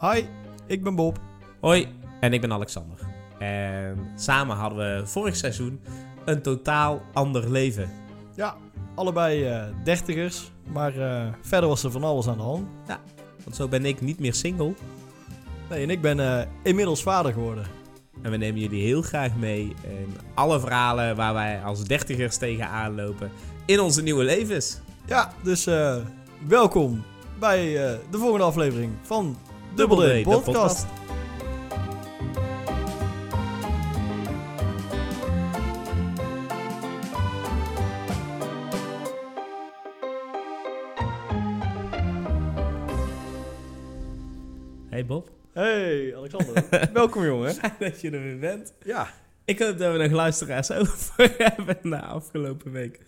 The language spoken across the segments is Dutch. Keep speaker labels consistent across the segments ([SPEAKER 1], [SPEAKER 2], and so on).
[SPEAKER 1] Hi, ik ben Bob.
[SPEAKER 2] Hoi, en ik ben Alexander. En samen hadden we vorig seizoen een totaal ander leven.
[SPEAKER 1] Ja, allebei eh, dertigers, maar eh, verder was er van alles aan de hand.
[SPEAKER 2] Want zo ben ik niet meer single.
[SPEAKER 1] Nee, en ik ben eh, inmiddels vader geworden.
[SPEAKER 2] En we nemen jullie heel graag mee in alle verhalen waar wij als dertigers tegenaan lopen in onze nieuwe levens.
[SPEAKER 1] Ja, dus eh, welkom bij eh, de volgende aflevering van Double
[SPEAKER 2] Double D,
[SPEAKER 1] Day
[SPEAKER 2] de
[SPEAKER 1] Podcast.
[SPEAKER 2] podcast. Hey Bob,
[SPEAKER 1] Hey, Alexander. welkom jongen.
[SPEAKER 2] fijn dat je er weer bent.
[SPEAKER 1] Ja.
[SPEAKER 2] Ik hoop dat we nog luisteraars over hebben na afgelopen week.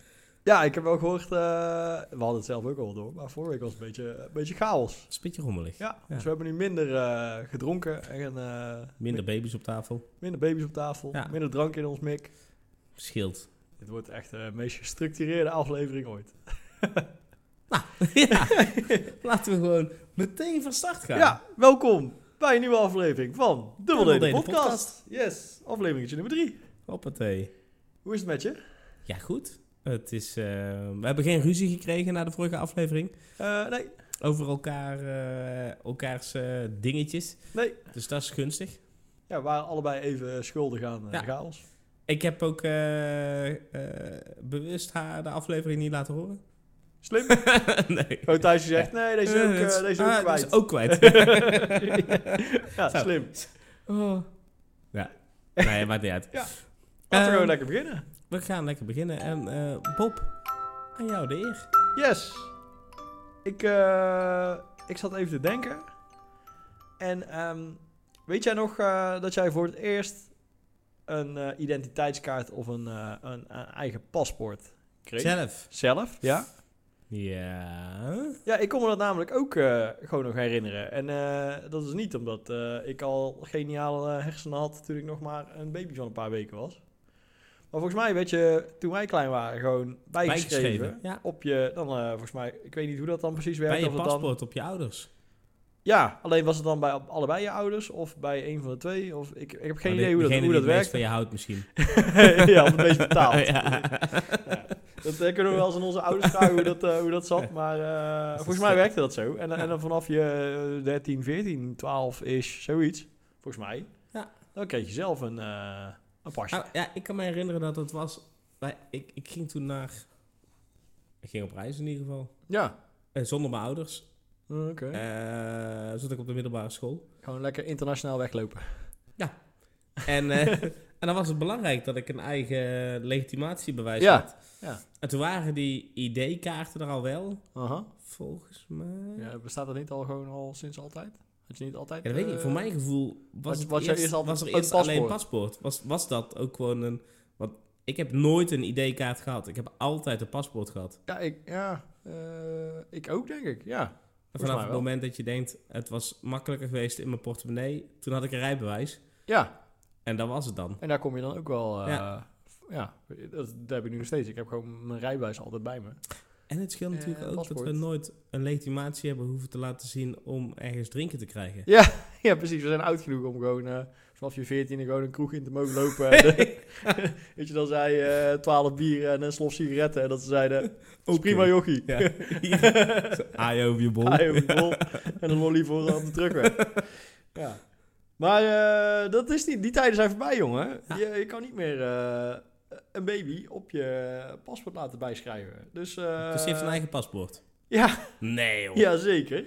[SPEAKER 1] ja, ik heb wel gehoord, eh, we hadden het zelf ook al door, maar vorige week was het een beetje, een beetje chaos.
[SPEAKER 2] Het is een beetje rommelig.
[SPEAKER 1] Ja,
[SPEAKER 2] Ja.
[SPEAKER 1] dus we hebben nu minder eh, gedronken en eh,
[SPEAKER 2] Minder baby's op tafel.
[SPEAKER 1] minder baby's op tafel,
[SPEAKER 2] Ja.
[SPEAKER 1] minder drank in ons mik.
[SPEAKER 2] Scheelt.
[SPEAKER 1] Dit wordt echt eh, de meest gestructureerde aflevering ooit.
[SPEAKER 2] ja, laten we gewoon meteen van start gaan.
[SPEAKER 1] Ja, welkom bij een nieuwe aflevering van Double
[SPEAKER 2] Double
[SPEAKER 1] D, de
[SPEAKER 2] D, de
[SPEAKER 1] podcast. Yes, afleveringetje nummer drie.
[SPEAKER 2] Hoppatee.
[SPEAKER 1] Hoe is het met je?
[SPEAKER 2] Ja, goed. Het is, eh, we hebben geen ruzie gekregen na de vorige aflevering.
[SPEAKER 1] Eh, nee,
[SPEAKER 2] Over elkaar, eh, elkaars eh, dingetjes.
[SPEAKER 1] nee.
[SPEAKER 2] Dus dat is gunstig.
[SPEAKER 1] Ja, we waren allebei even schuldig aan eh,
[SPEAKER 2] Ja.
[SPEAKER 1] chaos.
[SPEAKER 2] Ik heb ook eh, eh, bewust haar de aflevering niet laten horen.
[SPEAKER 1] Slim.
[SPEAKER 2] nee.
[SPEAKER 1] Gewoon thuis zegt, nee, Oh, deze is ook,
[SPEAKER 2] Eh,
[SPEAKER 1] eh, deze is ook
[SPEAKER 2] ah,
[SPEAKER 1] kwijt.
[SPEAKER 2] Deze is ook kwijt.
[SPEAKER 1] ja,
[SPEAKER 2] Zo.
[SPEAKER 1] slim.
[SPEAKER 2] oh. Ja. Nee, maakt niet uit.
[SPEAKER 1] Laten we
[SPEAKER 2] Ehm.
[SPEAKER 1] gewoon lekker beginnen.
[SPEAKER 2] We gaan lekker beginnen. En eh, Bob, aan jou de eer.
[SPEAKER 1] Yes. Ik, eh, ik zat even te denken. En ehm, weet jij nog eh, dat jij voor het eerst een eh, identiteitskaart of een, eh, een, een eigen paspoort kreeg?
[SPEAKER 2] Zelf.
[SPEAKER 1] Zelf, ja.
[SPEAKER 2] Ja.
[SPEAKER 1] Ja, ik kon me dat namelijk ook eh, gewoon nog herinneren. En eh, dat is niet omdat eh, ik al geniale eh, hersenen had toen ik nog maar een baby van een paar weken was. Maar volgens mij werd je, toen wij klein waren, gewoon bijgeschreven.
[SPEAKER 2] Bijgeschreven, ja.
[SPEAKER 1] Op je, dan eh, volgens mij, ik weet niet hoe dat dan precies werkt.
[SPEAKER 2] Bij je
[SPEAKER 1] of het Dan,
[SPEAKER 2] paspoort op je ouders.
[SPEAKER 1] ja, alleen was het dan bij allebei je ouders of bij een van de twee? Of, ik, ik heb geen
[SPEAKER 2] Maar
[SPEAKER 1] idee
[SPEAKER 2] Nou, de-
[SPEAKER 1] hoe dat,
[SPEAKER 2] degene
[SPEAKER 1] hoe
[SPEAKER 2] die
[SPEAKER 1] dat
[SPEAKER 2] het meest
[SPEAKER 1] werkt.
[SPEAKER 2] van je houdt misschien.
[SPEAKER 1] ja, of het meest betaald.
[SPEAKER 2] Ja.
[SPEAKER 1] Ja, dat eh, kunnen we wel eens aan onze ouders vragen hoe dat, eh, hoe dat zat. Maar eh, volgens mij
[SPEAKER 2] zo.
[SPEAKER 1] werkte dat zo. En, dan- en dan vanaf je eh, 13, 14, 12 is zoiets. Volgens mij.
[SPEAKER 2] Ja.
[SPEAKER 1] Dan kreeg je zelf een, eh, een pasje.
[SPEAKER 2] Ah, ja, ik kan me herinneren dat het was... wij- Ik, ik ging toen naar... Ik ging op reis in ieder geval.
[SPEAKER 1] Ja.
[SPEAKER 2] Eh, zonder mijn ouders.
[SPEAKER 1] Oké.
[SPEAKER 2] Eh zat ik op de middelbare school.
[SPEAKER 1] Gewoon lekker internationaal weglopen.
[SPEAKER 2] En, eh, en dan was het belangrijk dat ik een eigen legitimatiebewijs
[SPEAKER 1] Ja,
[SPEAKER 2] had.
[SPEAKER 1] ja.
[SPEAKER 2] En toen waren die ID-kaarten er al wel,
[SPEAKER 1] Aha.
[SPEAKER 2] volgens mij. Ja,
[SPEAKER 1] Ja, bestaat dat niet al gewoon al sinds altijd? Had je niet altijd...
[SPEAKER 2] Mm. dat weet ik niet.
[SPEAKER 1] eh,
[SPEAKER 2] Voor mijn gevoel
[SPEAKER 1] wat-
[SPEAKER 2] was, het
[SPEAKER 1] wat jij
[SPEAKER 2] eerst,
[SPEAKER 1] eerst had,
[SPEAKER 2] was er
[SPEAKER 1] een
[SPEAKER 2] eerst alleen
[SPEAKER 1] paspoort.
[SPEAKER 2] paspoort. Was, was dat ook gewoon een... Want ik heb nooit een ID-kaart gehad. Ik heb altijd een paspoort gehad.
[SPEAKER 1] Ja, ik, ja eh, ik ook denk ik. Ja.
[SPEAKER 2] En
[SPEAKER 1] Volgens mij
[SPEAKER 2] vanaf het
[SPEAKER 1] wel.
[SPEAKER 2] moment dat je denkt, het was makkelijker geweest in mijn portemonnee, toen had ik een rijbewijs.
[SPEAKER 1] Ja.
[SPEAKER 2] En dat was het dan.
[SPEAKER 1] En daar kom je dan ook wel... eh,
[SPEAKER 2] Ja.
[SPEAKER 1] ja. dat, dat heb ik nu nog steeds. Ik heb gewoon mijn rijbewijs altijd bij me.
[SPEAKER 2] En het scheelt
[SPEAKER 1] Eh,
[SPEAKER 2] natuurlijk ook dat
[SPEAKER 1] paspoort.
[SPEAKER 2] we nooit een legitimatie hebben hoeven te laten zien om ergens drinken te krijgen.
[SPEAKER 1] Ja, ja, precies. We zijn oud genoeg om gewoon eh, vanaf je veertiende gewoon een kroeg in te mogen lopen. En, eh, weet je, dan zei je twaalf bieren en een slof sigaretten. En dat ze zeiden, "Is prima jochie.
[SPEAKER 2] Ja. Aai over je bol.
[SPEAKER 1] Ah, joh, lol. en een lolly voor aan de terugweg. ja. Maar eh, dat is niet, die tijden zijn voorbij, jongen. Je, je kan niet meer eh, een baby op je paspoort laten bijschrijven. Dus, eh,
[SPEAKER 2] Dus je heeft een eigen paspoort.
[SPEAKER 1] Ja,
[SPEAKER 2] Nee joh.
[SPEAKER 1] ja zeker.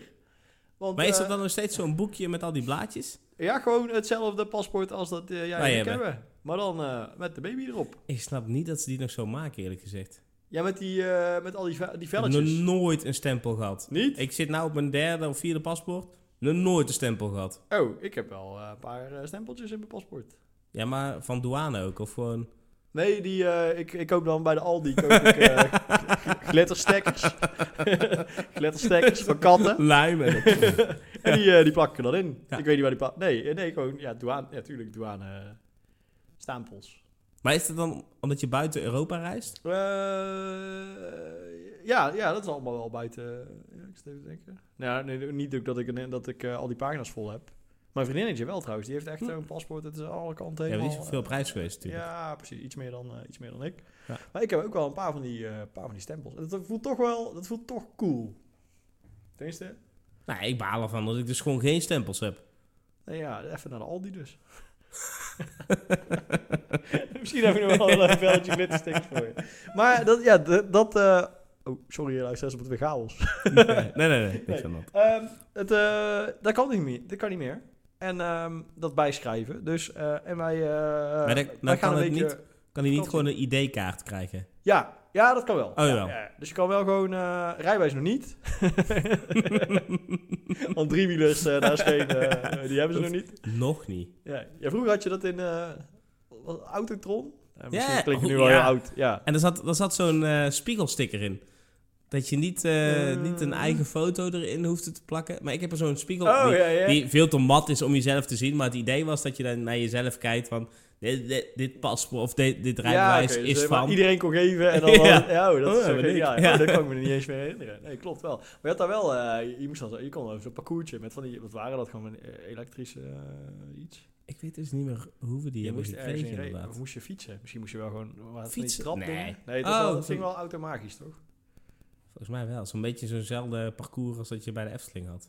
[SPEAKER 1] Want,
[SPEAKER 2] Maar is dat
[SPEAKER 1] eh,
[SPEAKER 2] dan nog steeds zo'n boekje met al die blaadjes?
[SPEAKER 1] Ja, gewoon hetzelfde paspoort als dat eh, jij
[SPEAKER 2] Wij
[SPEAKER 1] en ik
[SPEAKER 2] hebben.
[SPEAKER 1] hebben. Maar dan eh, met de baby erop.
[SPEAKER 2] Ik snap niet dat ze die nog zo maken eerlijk gezegd.
[SPEAKER 1] Ja, met, die, eh, met al die, ve- die
[SPEAKER 2] Ik heb nog
[SPEAKER 1] velletjes.
[SPEAKER 2] nooit een stempel gehad.
[SPEAKER 1] Niet?
[SPEAKER 2] Ik zit nu op mijn derde of vierde paspoort. Nog nooit een stempel gehad.
[SPEAKER 1] Oh, ik heb wel eh, een paar eh, stempeltjes in mijn paspoort.
[SPEAKER 2] Ja, maar van douane ook. Of gewoon...
[SPEAKER 1] Nee, die, eh, ik, ik koop dan bij de Aldi koop ik, eh, glitterstekkers. glitterstekkers van katten.
[SPEAKER 2] Luim en op-
[SPEAKER 1] En die, eh, die plak ik er dan in.
[SPEAKER 2] Ja.
[SPEAKER 1] Ik weet niet waar die plak... Nee, eh, nee, gewoon ja, douane, ja, tuurlijk douane eh, stempels.
[SPEAKER 2] Maar is het dan omdat je buiten Europa reist?
[SPEAKER 1] Eh, ja, ja, dat is allemaal wel buiten. eh, Ja, ik zit even te denken. Nou, nee, niet ook dat ik, dat ik eh, al die pagina's vol heb. Mijn vriendinnetje wel trouwens. Die heeft echt
[SPEAKER 2] Hm.
[SPEAKER 1] zo'n paspoort. Het is aan alle kanten
[SPEAKER 2] Ja,
[SPEAKER 1] helemaal...
[SPEAKER 2] die is veel
[SPEAKER 1] eh,
[SPEAKER 2] prijs geweest natuurlijk.
[SPEAKER 1] Ja, precies. Iets meer dan, eh, iets meer dan ik.
[SPEAKER 2] Ja.
[SPEAKER 1] Maar ik heb ook wel een paar van die, eh, paar van die stempels. En Dat voelt toch wel... Dat voelt toch cool. Tenminste...
[SPEAKER 2] Nou, ik baal ervan dat ik dus gewoon geen stempels heb.
[SPEAKER 1] Nee, eh, ja, even naar de Aldi dus. Misschien heb ik nog wel een belletje glitterstickers voor je. Maar dat, ja, d- dat... eh, Oh, sorry luisteraars, op het weer chaos.
[SPEAKER 2] nee, nee, nee, niks
[SPEAKER 1] Nee.
[SPEAKER 2] aan dat.
[SPEAKER 1] Ehm, het, eh, dat kan niet meer. Dat kan niet meer. En ehm, dat bijschrijven. Dus, eh, en wij, eh,
[SPEAKER 2] dat-
[SPEAKER 1] wij
[SPEAKER 2] dan kan het niet- Kan hij niet
[SPEAKER 1] Vakantie.
[SPEAKER 2] gewoon een ID-kaart krijgen?
[SPEAKER 1] Ja, ja, dat kan wel.
[SPEAKER 2] Oh, jawel.
[SPEAKER 1] ja. Dus je kan wel gewoon... eh, rijbewijs nog niet. Want driewielers, eh, daar is geen... eh, die hebben ze nog niet.
[SPEAKER 2] Nog niet.
[SPEAKER 1] Ja, ja, vroeger had je dat in eh, wat- Autotron. Ja, misschien
[SPEAKER 2] Ja,
[SPEAKER 1] klinkt het nu
[SPEAKER 2] oh,
[SPEAKER 1] wel
[SPEAKER 2] ja.
[SPEAKER 1] heel oud. Ja.
[SPEAKER 2] En er zat, er zat zo'n eh, spiegelsticker in. Dat je niet, eh,
[SPEAKER 1] Eh.
[SPEAKER 2] niet een eigen foto erin hoeft te plakken. Maar ik heb er zo'n spiegel
[SPEAKER 1] Oh,
[SPEAKER 2] die,
[SPEAKER 1] ja, ja.
[SPEAKER 2] die veel te mat is om jezelf te zien. Maar het idee was dat je dan naar jezelf kijkt van... Dit, dit, dit paspoort of dit, dit rijbewijs
[SPEAKER 1] oké, dus,
[SPEAKER 2] is
[SPEAKER 1] eh, maar
[SPEAKER 2] van...
[SPEAKER 1] Iedereen kon geven en dan...
[SPEAKER 2] Ja.
[SPEAKER 1] was het- ja, oh, dat,
[SPEAKER 2] Oh,
[SPEAKER 1] is,
[SPEAKER 2] ja,
[SPEAKER 1] oké,
[SPEAKER 2] ben ik.
[SPEAKER 1] ja,
[SPEAKER 2] Ja.
[SPEAKER 1] oh, dat kan ik me niet eens meer herinneren. Nee, klopt wel. Maar je had daar wel... eh, je, je moest dan, zo- je kon dan zo'n parcoursje met van die... Wat waren dat? Gewoon een eh, elektrische eh, iets?
[SPEAKER 2] Ik weet dus niet meer hoe we die
[SPEAKER 1] je
[SPEAKER 2] hebben
[SPEAKER 1] moest ergens
[SPEAKER 2] gekregen
[SPEAKER 1] in rijden. Of
[SPEAKER 2] inderdaad.
[SPEAKER 1] moest je fietsen? Misschien moest je wel gewoon... waren het van die
[SPEAKER 2] Fietsen?
[SPEAKER 1] trapdingen?
[SPEAKER 2] Nee.
[SPEAKER 1] Nee, dat, was
[SPEAKER 2] Oh,
[SPEAKER 1] wel, dat ging
[SPEAKER 2] zo-
[SPEAKER 1] wel automatisch, toch?
[SPEAKER 2] Volgens mij wel. Zo'n beetje zo'nzelfde parcours als dat je bij de Efteling had.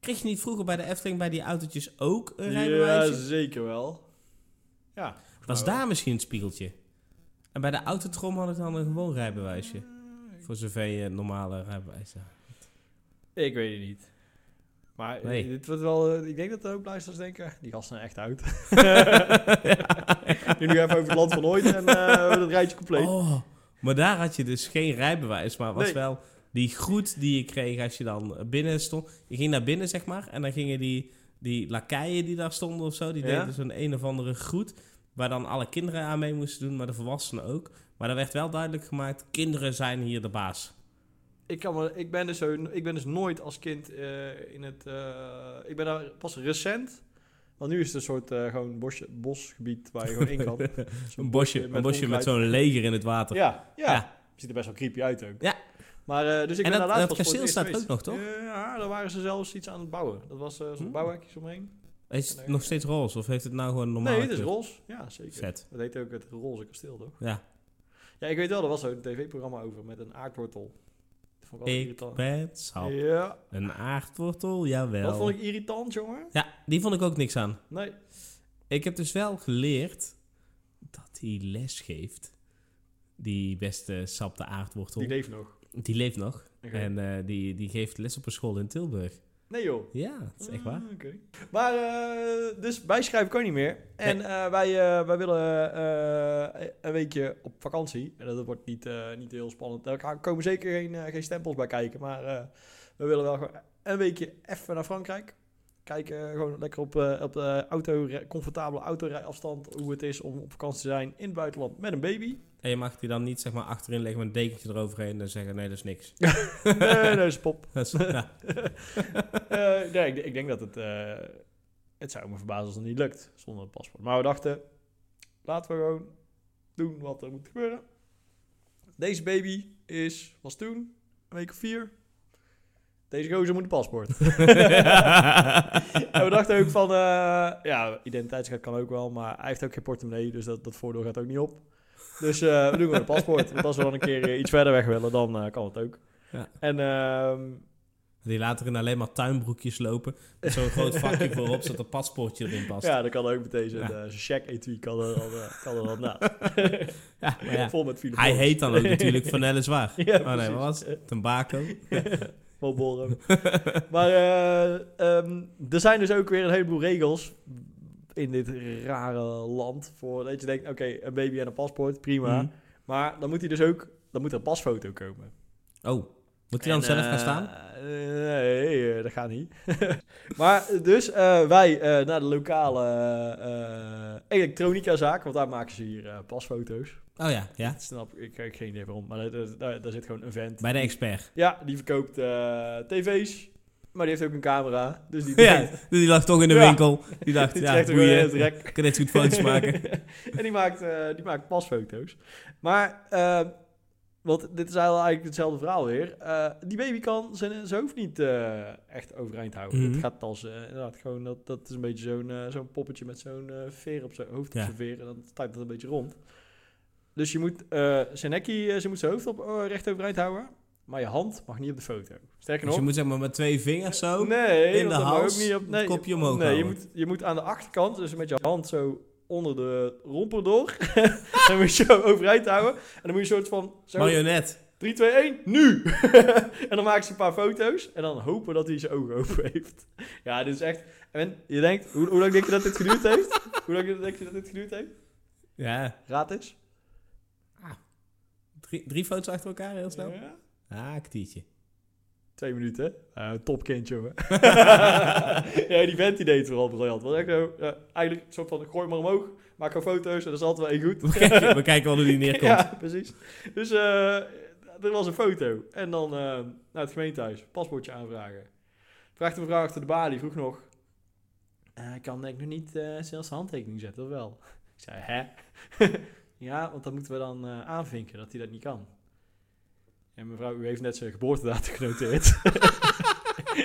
[SPEAKER 2] Kreeg je niet vroeger bij de Efteling bij die autootjes ook een
[SPEAKER 1] Ja,
[SPEAKER 2] rijbewijsje?
[SPEAKER 1] zeker wel. Ja. Oh. volgens
[SPEAKER 2] Was
[SPEAKER 1] mij
[SPEAKER 2] daar misschien het spiegeltje? En bij de autotrom had ik dan een gewoon
[SPEAKER 1] Eh,
[SPEAKER 2] rijbewijsje.
[SPEAKER 1] wel.
[SPEAKER 2] Voor zover je normale rijbewijs hebt.
[SPEAKER 1] Ik weet het niet. Maar eh,
[SPEAKER 2] Nee.
[SPEAKER 1] dit wordt wel, eh, ik denk dat de hoop luisteraars denken, die gasten zijn echt oud. Nu nu even over het land van ooit en eh het rijtje compleet.
[SPEAKER 2] Oh, maar daar had je dus geen rijbewijs, maar was
[SPEAKER 1] Nee.
[SPEAKER 2] wel die groet die je kreeg als je dan binnen stond. Je ging naar binnen, zeg maar, en dan gingen die, die lakeien die daar stonden of zo, die
[SPEAKER 1] Ja.
[SPEAKER 2] deden zo'n een of andere groet. Waar dan alle kinderen aan mee moesten doen, maar de volwassenen ook. Maar daar werd wel duidelijk gemaakt, kinderen zijn hier de baas.
[SPEAKER 1] Ik, kan me, ik, ben dus zo, ik ben dus nooit als kind eh, in het... eh, ik ben daar pas recent, want nu is het een soort eh, gewoon bosje, bosgebied waar je gewoon in kan.
[SPEAKER 2] Een bosje, een bosje met
[SPEAKER 1] onkruid.
[SPEAKER 2] zo'n leger in het water.
[SPEAKER 1] Ja, ja,
[SPEAKER 2] Ja.
[SPEAKER 1] Ziet er best wel creepy uit ook.
[SPEAKER 2] Ja.
[SPEAKER 1] Maar, eh, dus ik
[SPEAKER 2] En
[SPEAKER 1] ben
[SPEAKER 2] dat-
[SPEAKER 1] daar laatst pas voor het
[SPEAKER 2] dat kasteel
[SPEAKER 1] eerst
[SPEAKER 2] staat
[SPEAKER 1] geweest. Eh,
[SPEAKER 2] ook nog, toch?
[SPEAKER 1] Ja, daar waren ze zelfs iets aan het bouwen. Dat was eh, zo'n
[SPEAKER 2] Hm.
[SPEAKER 1] bouwhekjes omheen.
[SPEAKER 2] Is het nog steeds roze of heeft het nou gewoon een normale
[SPEAKER 1] Nee, het is
[SPEAKER 2] kleur?
[SPEAKER 1] roze. Ja, zeker.
[SPEAKER 2] Vet.
[SPEAKER 1] Dat heet ook het roze kasteel, toch?
[SPEAKER 2] Ja.
[SPEAKER 1] Ja, ik weet wel, er was zo'n tv-programma over met een aardwortel. Dat vond ik wel
[SPEAKER 2] Ik
[SPEAKER 1] irritant.
[SPEAKER 2] ben sap.
[SPEAKER 1] Ja,
[SPEAKER 2] Een aardwortel, jawel.
[SPEAKER 1] dat vond ik irritant, jongen.
[SPEAKER 2] Ja, die vond ik ook niks aan.
[SPEAKER 1] Nee.
[SPEAKER 2] Ik heb dus wel geleerd dat hij les geeft. Die beste sap de aardwortel.
[SPEAKER 1] Die
[SPEAKER 2] Die,
[SPEAKER 1] leeft nog.
[SPEAKER 2] leeft nog.
[SPEAKER 1] Oké.
[SPEAKER 2] En eh, die, die geeft les op een school in Tilburg.
[SPEAKER 1] Nee, joh.
[SPEAKER 2] Ja, dat is echt waar.
[SPEAKER 1] Ah, oké. Maar, eh, dus bijschrijven kan niet meer. En eh, wij, eh, wij willen eh, een weekje op vakantie. En dat wordt niet, eh, niet heel spannend. Daar gaan- komen zeker geen, eh, geen stempels bij kijken. Maar eh, we willen wel gewoon een weekje even naar Frankrijk. Kijken eh, gewoon lekker op, eh, op de auto, comfortabele autorijafstand. Hoe het is om op vakantie te zijn in het buitenland met een baby.
[SPEAKER 2] En je mag die dan niet zeg maar achterin leggen met een dekentje eroverheen en zeggen nee, dat is niks.
[SPEAKER 1] nee, nee, is pop.
[SPEAKER 2] Dat is- ja.
[SPEAKER 1] Eh, nee, ik, ik denk dat het... eh, het zou me verbazen als het niet lukt zonder een paspoort. Maar we dachten, laten we gewoon doen wat er moet gebeuren. Deze baby is, was toen, een week of vier. Deze gozer moet een paspoort. en we dachten ook van, eh, ja, identiteitskaart kan ook wel, maar hij heeft ook geen portemonnee, dus dat, dat voordeel gaat ook niet op. Dus eh, we doen gewoon een paspoort. Want als we dan een keer eh, iets verder weg willen, dan eh, kan het ook.
[SPEAKER 2] Ja.
[SPEAKER 1] En ehm,
[SPEAKER 2] Die later in alleen maar tuinbroekjes lopen. Met zo'n groot vakje voorop zodat een paspoortje erin past.
[SPEAKER 1] Ja, dat kan ook met deze.
[SPEAKER 2] Ja.
[SPEAKER 1] eh, Zijn check etui kan er dan, eh, kan er dan naast.
[SPEAKER 2] Ja, maar ja.
[SPEAKER 1] Vol met filosofen.
[SPEAKER 2] Hij heet dan ook natuurlijk Van Ellis Waar.
[SPEAKER 1] Ja,
[SPEAKER 2] oh nee,
[SPEAKER 1] precies.
[SPEAKER 2] wat was het? Een bako.
[SPEAKER 1] Molborum. maar eh, ehm, er zijn dus ook weer een heleboel regels in dit rare land. Voor dat je denkt, oké, een baby en een paspoort, prima.
[SPEAKER 2] Mhm.
[SPEAKER 1] Maar dan moet hij dus ook, dan moet er een pasfoto komen.
[SPEAKER 2] Oh, moet hij dan
[SPEAKER 1] En,
[SPEAKER 2] zelf
[SPEAKER 1] eh,
[SPEAKER 2] gaan staan?
[SPEAKER 1] eh, nee, eh, dat gaat niet. maar eh, dus eh, wij eh, naar de lokale eh elektronica zaak, want daar maken ze hier eh, pasfoto's.
[SPEAKER 2] Oh ja, ja.
[SPEAKER 1] Dat snap ik, ik heb geen idee waarom, maar daar, daar, daar- daar zit gewoon een vent.
[SPEAKER 2] Bij de expert.
[SPEAKER 1] Ja, die verkoopt eh, tv's, Maar die heeft ook een camera. Dus die
[SPEAKER 2] Ja,
[SPEAKER 1] denkt-
[SPEAKER 2] die lag toch in de
[SPEAKER 1] Ja.
[SPEAKER 2] winkel. Die dacht,
[SPEAKER 1] die
[SPEAKER 2] ja,
[SPEAKER 1] trekt er gewoon in het
[SPEAKER 2] boeien.
[SPEAKER 1] rek.
[SPEAKER 2] Ik kan net zo goed foto's maken. Dus
[SPEAKER 1] en die maakt, eh, die maakt pasfoto's. Maar, eh, want dit is eigenlijk hetzelfde verhaal weer. Eh, die baby kan zijn, zijn hoofd niet eh, echt overeind houden.
[SPEAKER 2] Mhm.
[SPEAKER 1] Het gaat als, eh, inderdaad, gewoon dat, dat is een beetje zo'n eh, zo'n poppetje met zo'n eh, veer op zijn hoofd
[SPEAKER 2] Ja.
[SPEAKER 1] op zijn veer. En dan staat dat een beetje rond. Dus je moet eh, zijn nekkie, eh, ze moet zijn hoofd op, eh, recht overeind houden. Maar je hand mag niet op de foto. Sterker
[SPEAKER 2] Dus
[SPEAKER 1] nog,
[SPEAKER 2] je moet zeg maar met twee vingers zo.
[SPEAKER 1] nee,
[SPEAKER 2] in
[SPEAKER 1] want
[SPEAKER 2] de
[SPEAKER 1] dat mag
[SPEAKER 2] hals
[SPEAKER 1] ook niet op,
[SPEAKER 2] het
[SPEAKER 1] nee,
[SPEAKER 2] kopje omhoog
[SPEAKER 1] Nee, je
[SPEAKER 2] houden.
[SPEAKER 1] moet, je moet aan de achterkant, dus met je hand zo onder de romper door. dan moet je zo overeind houden. En dan moet je een soort van, zo,
[SPEAKER 2] Marionet.
[SPEAKER 1] 3, 2, 1, nu! en dan maken ze een paar foto's en dan hopen dat hij zijn ogen open heeft. ja, dit is echt... En je denkt, hoe, hoe lang denk je dat dit geduurd heeft? hoe lang denk je dat dit geduurd heeft?
[SPEAKER 2] Ja,
[SPEAKER 1] Raad eens.
[SPEAKER 2] drie, drie foto's achter elkaar heel snel.
[SPEAKER 1] Ja.
[SPEAKER 2] Ah, kwartiertje.
[SPEAKER 1] Twee minuten. Eh topkind, jongen. ja, die vent die deed het vooral briljant. Want echt zo, ja, eigenlijk een soort van, gooi maar omhoog, maak gewoon foto's en dat is altijd wel één goed.
[SPEAKER 2] We kijken, we kijken wel hoe die neerkomt.
[SPEAKER 1] ja, precies. Dus eh er was een foto. En dan eh, naar het gemeentehuis, paspoortje aanvragen. Vraagt een mevrouw achter de balie, vroeg nog... "Eh, Ik kan denk ik nog niet eh zelfs de handtekening zetten, of wel? Ik zei, hè? ja, want dat moeten we dan eh, aanvinken, dat hij dat niet kan. En mevrouw, u heeft net zijn geboortedatum genoteerd.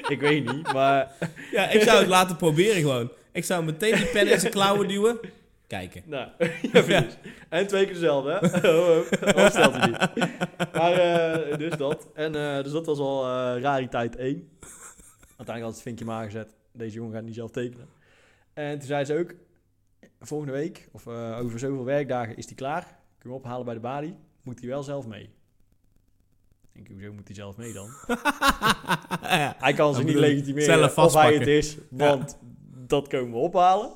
[SPEAKER 1] ik weet niet, maar...
[SPEAKER 2] Ja, ik zou het laten proberen gewoon. Ik zou meteen die pen in zijn klauwen duwen. Kijken.
[SPEAKER 1] Nou, ja, precies. En twee keer dezelfde, hè? Oh, oh, oh, stelt hij niet. Maar, eh, dus dat. En, eh, dus dat was al eh, rariteit 1. Uiteindelijk had het vinkje maar aangezet. Deze jongen gaat niet zelf tekenen. En toen zei ze ook, volgende week, of eh, over zoveel werkdagen is hij klaar. Kun je hem ophalen bij de balie. Moet hij wel zelf mee. Ik denk, hoezo moet hij zelf mee dan?
[SPEAKER 2] Ja.
[SPEAKER 1] Hij kan zich
[SPEAKER 2] Ik
[SPEAKER 1] niet
[SPEAKER 2] bedoel,
[SPEAKER 1] legitimeren
[SPEAKER 2] zelf
[SPEAKER 1] of hij
[SPEAKER 2] vastpakken.
[SPEAKER 1] het is, want dat komen we ophalen.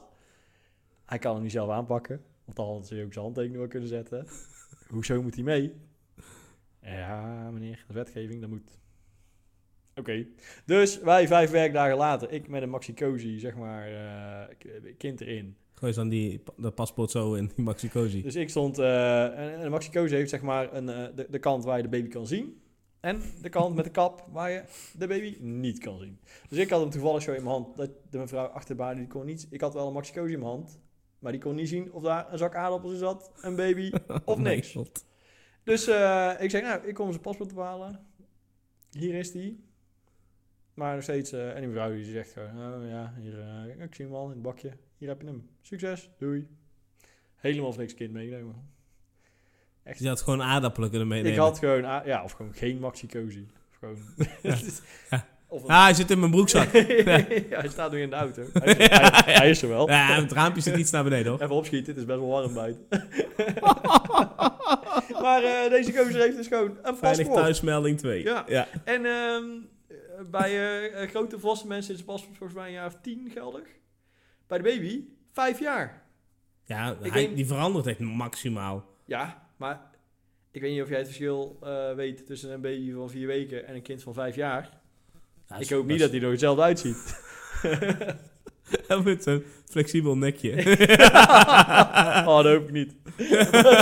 [SPEAKER 1] Hij kan hem niet zelf aanpakken, want dan had hij ook zijn handtekening wel kunnen zetten. Hoezo moet hij mee? Ja, meneer, dat is wetgeving, dat moet. Oké, dus wij vijf werkdagen later, ik met een maxi cozy, zeg maar, eh, k- kind erin.
[SPEAKER 2] Gooi eens dan die, dat paspoort zo in die maxi cozy.
[SPEAKER 1] Dus ik stond, eh, en, en de Maxi Cozy heeft zeg maar een, eh, de, de kant waar je de baby kan zien. En de kant met de kap waar je de baby niet kan zien. Dus ik had hem toevallig zo in mijn hand. Dat de mevrouw achter de balie, die kon niet... Ik had wel een Maxi Cozy in mijn hand. Maar die kon niet zien of daar een zak aardappels in zat, een baby
[SPEAKER 2] Oh,
[SPEAKER 1] of niks. Dus eh, ik zeg, nou, ik kom zijn paspoort ophalen. Hier is die. Maar nog steeds, eh, en die mevrouw die zegt gewoon, oh ja, hier, eh, ik zie hem al in het bakje. Hier heb je hem. Succes, doei. Helemaal voor niks kind meegenomen.
[SPEAKER 2] Dus je had gewoon aardappelen kunnen meenemen.
[SPEAKER 1] Ik had gewoon, a- ja, of gewoon geen maxi cozy. Of gewoon... of een-
[SPEAKER 2] Ah, hij zit in mijn broekzak.
[SPEAKER 1] ja, hij staat nu in de auto. Hij is, hij-
[SPEAKER 2] Ja, ja.
[SPEAKER 1] hij is er wel.
[SPEAKER 2] Ja, het raampje zit iets naar beneden, hoor.
[SPEAKER 1] Even opschieten, het is best wel warm buiten. maar eh, deze gozer heeft dus gewoon een
[SPEAKER 2] Veilig
[SPEAKER 1] paspoort.
[SPEAKER 2] thuismelding 2.
[SPEAKER 1] Ja.
[SPEAKER 2] ja.
[SPEAKER 1] En ehm, eh, bij eh, eh, grote volwassen mensen is het paspoort volgens mij een jaar of tien geldig. Bij de baby, vijf jaar.
[SPEAKER 2] Ja,
[SPEAKER 1] Ik
[SPEAKER 2] hij-
[SPEAKER 1] denk-
[SPEAKER 2] die verandert echt maximaal.
[SPEAKER 1] Ja, maar ik weet niet of jij het verschil eh, weet tussen een baby van vier weken en een kind van vijf jaar.
[SPEAKER 2] Ja,
[SPEAKER 1] ik
[SPEAKER 2] is-
[SPEAKER 1] hoop niet dat hij er hetzelfde uitziet.
[SPEAKER 2] Hij moet zo'n flexibel nekje.
[SPEAKER 1] oh, dat hoop ik niet.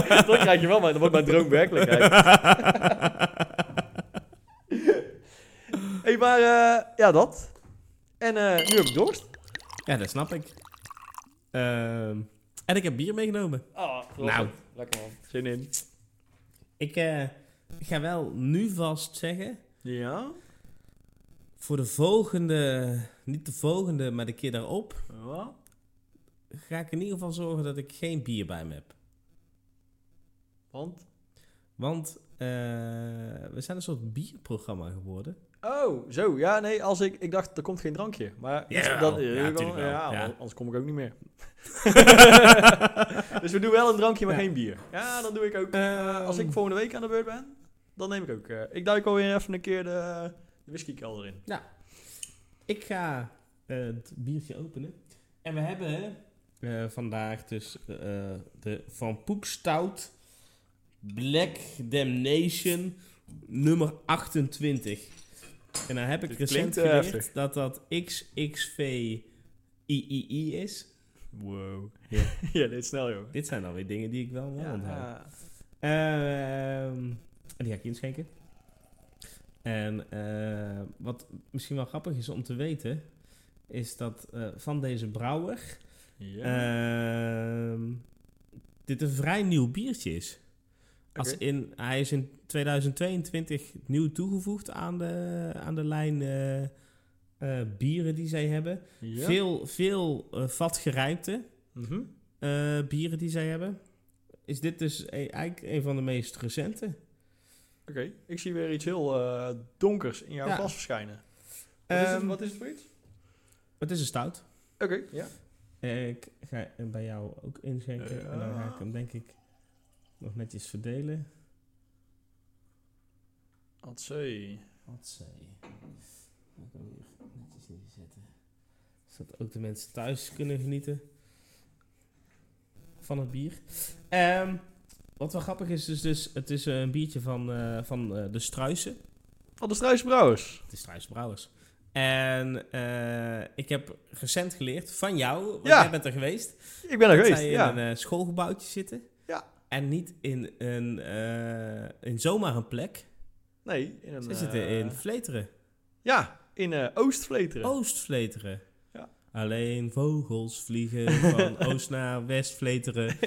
[SPEAKER 1] dat krijg je wel, maar dan wordt mijn droom werkelijkheid. hey, maar eh, ja, dat. En eh, nu heb ik dorst.
[SPEAKER 2] ja, dat snap ik. Ehm, en ik heb bier meegenomen.
[SPEAKER 1] Oh,
[SPEAKER 2] Nou.
[SPEAKER 1] Lekker man. Zin in.
[SPEAKER 2] Ik eh, ga wel nu vast zeggen...
[SPEAKER 1] Ja?
[SPEAKER 2] Voor de volgende... Niet de volgende, maar de keer daarop...
[SPEAKER 1] Wat?
[SPEAKER 2] ga ik in ieder geval zorgen dat ik geen bier bij me heb.
[SPEAKER 1] Want?
[SPEAKER 2] Want eh, we zijn een soort bierprogramma geworden.
[SPEAKER 1] Oh, zo. Ja, nee, als ik... Ik dacht, er komt geen drankje. Maar dus
[SPEAKER 2] Jawel.
[SPEAKER 1] dat,
[SPEAKER 2] Ja,
[SPEAKER 1] ja,
[SPEAKER 2] tuurlijk wel.
[SPEAKER 1] ja,
[SPEAKER 2] Ja.
[SPEAKER 1] anders kom ik ook niet meer. dus we doen wel een drankje, maar
[SPEAKER 2] Ja.
[SPEAKER 1] geen bier. Ja, dan doe ik ook. eh,
[SPEAKER 2] Ehm.
[SPEAKER 1] Als ik volgende week aan de beurt ben, dan neem ik ook... eh, ik duik alweer even een keer de, de whiskykelder in.
[SPEAKER 2] Ik ga eh, het biertje openen. En we hebben eh, vandaag dus eh, de Van Poek Stout Black Damnation nummer 28. En dan heb ik
[SPEAKER 1] Dit
[SPEAKER 2] recent
[SPEAKER 1] klinkt, eh,
[SPEAKER 2] geleerd
[SPEAKER 1] heftig.
[SPEAKER 2] dat dat XXVIII is.
[SPEAKER 1] Wow.
[SPEAKER 2] Ja.
[SPEAKER 1] Ja, ja dit is snel, joh.
[SPEAKER 2] Dit zijn alweer dingen die ik wel wel onthoud.
[SPEAKER 1] Ja.
[SPEAKER 2] Ehm, en die ga ik inschenken. En eh, wat misschien wel grappig is om te weten, is dat eh, van deze brouwer
[SPEAKER 1] Ja.
[SPEAKER 2] ehm, dit een vrij nieuw biertje is. Als
[SPEAKER 1] Oké.
[SPEAKER 2] in, hij is in 2022 nieuw toegevoegd aan de, aan de lijn eh, eh, bieren die zij hebben.
[SPEAKER 1] Ja.
[SPEAKER 2] Eh, Veel, veel eh, vatgerijpte
[SPEAKER 1] Mhm.
[SPEAKER 2] eh, bieren die zij hebben. Is dit dus e- eigenlijk een van de meest recente?
[SPEAKER 1] Oké, ik zie weer iets heel eh, donkers in jouw
[SPEAKER 2] Ja.
[SPEAKER 1] glas verschijnen. Wat, is het,
[SPEAKER 2] Ehm,
[SPEAKER 1] wat is het voor iets?
[SPEAKER 2] Het is een stout.
[SPEAKER 1] Oké, ja.
[SPEAKER 2] Eh, Ik ga hem bij jou ook inschenken. En dan ga ik hem denk ik nog netjes verdelen.
[SPEAKER 1] At zee.
[SPEAKER 2] Wat zei je? Ga ik hem hier netjes neerzetten. Zodat ook de mensen thuis kunnen genieten van het bier. Ehm, wat wel grappig is, is dus, het is eh, een biertje van, eh, van eh, de Struisen.
[SPEAKER 1] Van de Struis Brouwers.
[SPEAKER 2] De Struisen Brouwers. En eh, ik heb recent geleerd van jou, want
[SPEAKER 1] Ja.
[SPEAKER 2] jij bent er geweest.
[SPEAKER 1] Ik ben er
[SPEAKER 2] Dat
[SPEAKER 1] geweest,
[SPEAKER 2] zij in
[SPEAKER 1] ja.
[SPEAKER 2] een eh, schoolgebouwtje zitten.
[SPEAKER 1] Ja.
[SPEAKER 2] En niet in, een, eh, in zomaar een plek.
[SPEAKER 1] Nee, in een...
[SPEAKER 2] Ze zitten
[SPEAKER 1] eh,
[SPEAKER 2] in Oh, Vleteren.
[SPEAKER 1] Ja, in eh, Oostvleteren.
[SPEAKER 2] Oost-Vleteren.
[SPEAKER 1] Ja.
[SPEAKER 2] Alleen vogels vliegen van oost naar west-Vleteren.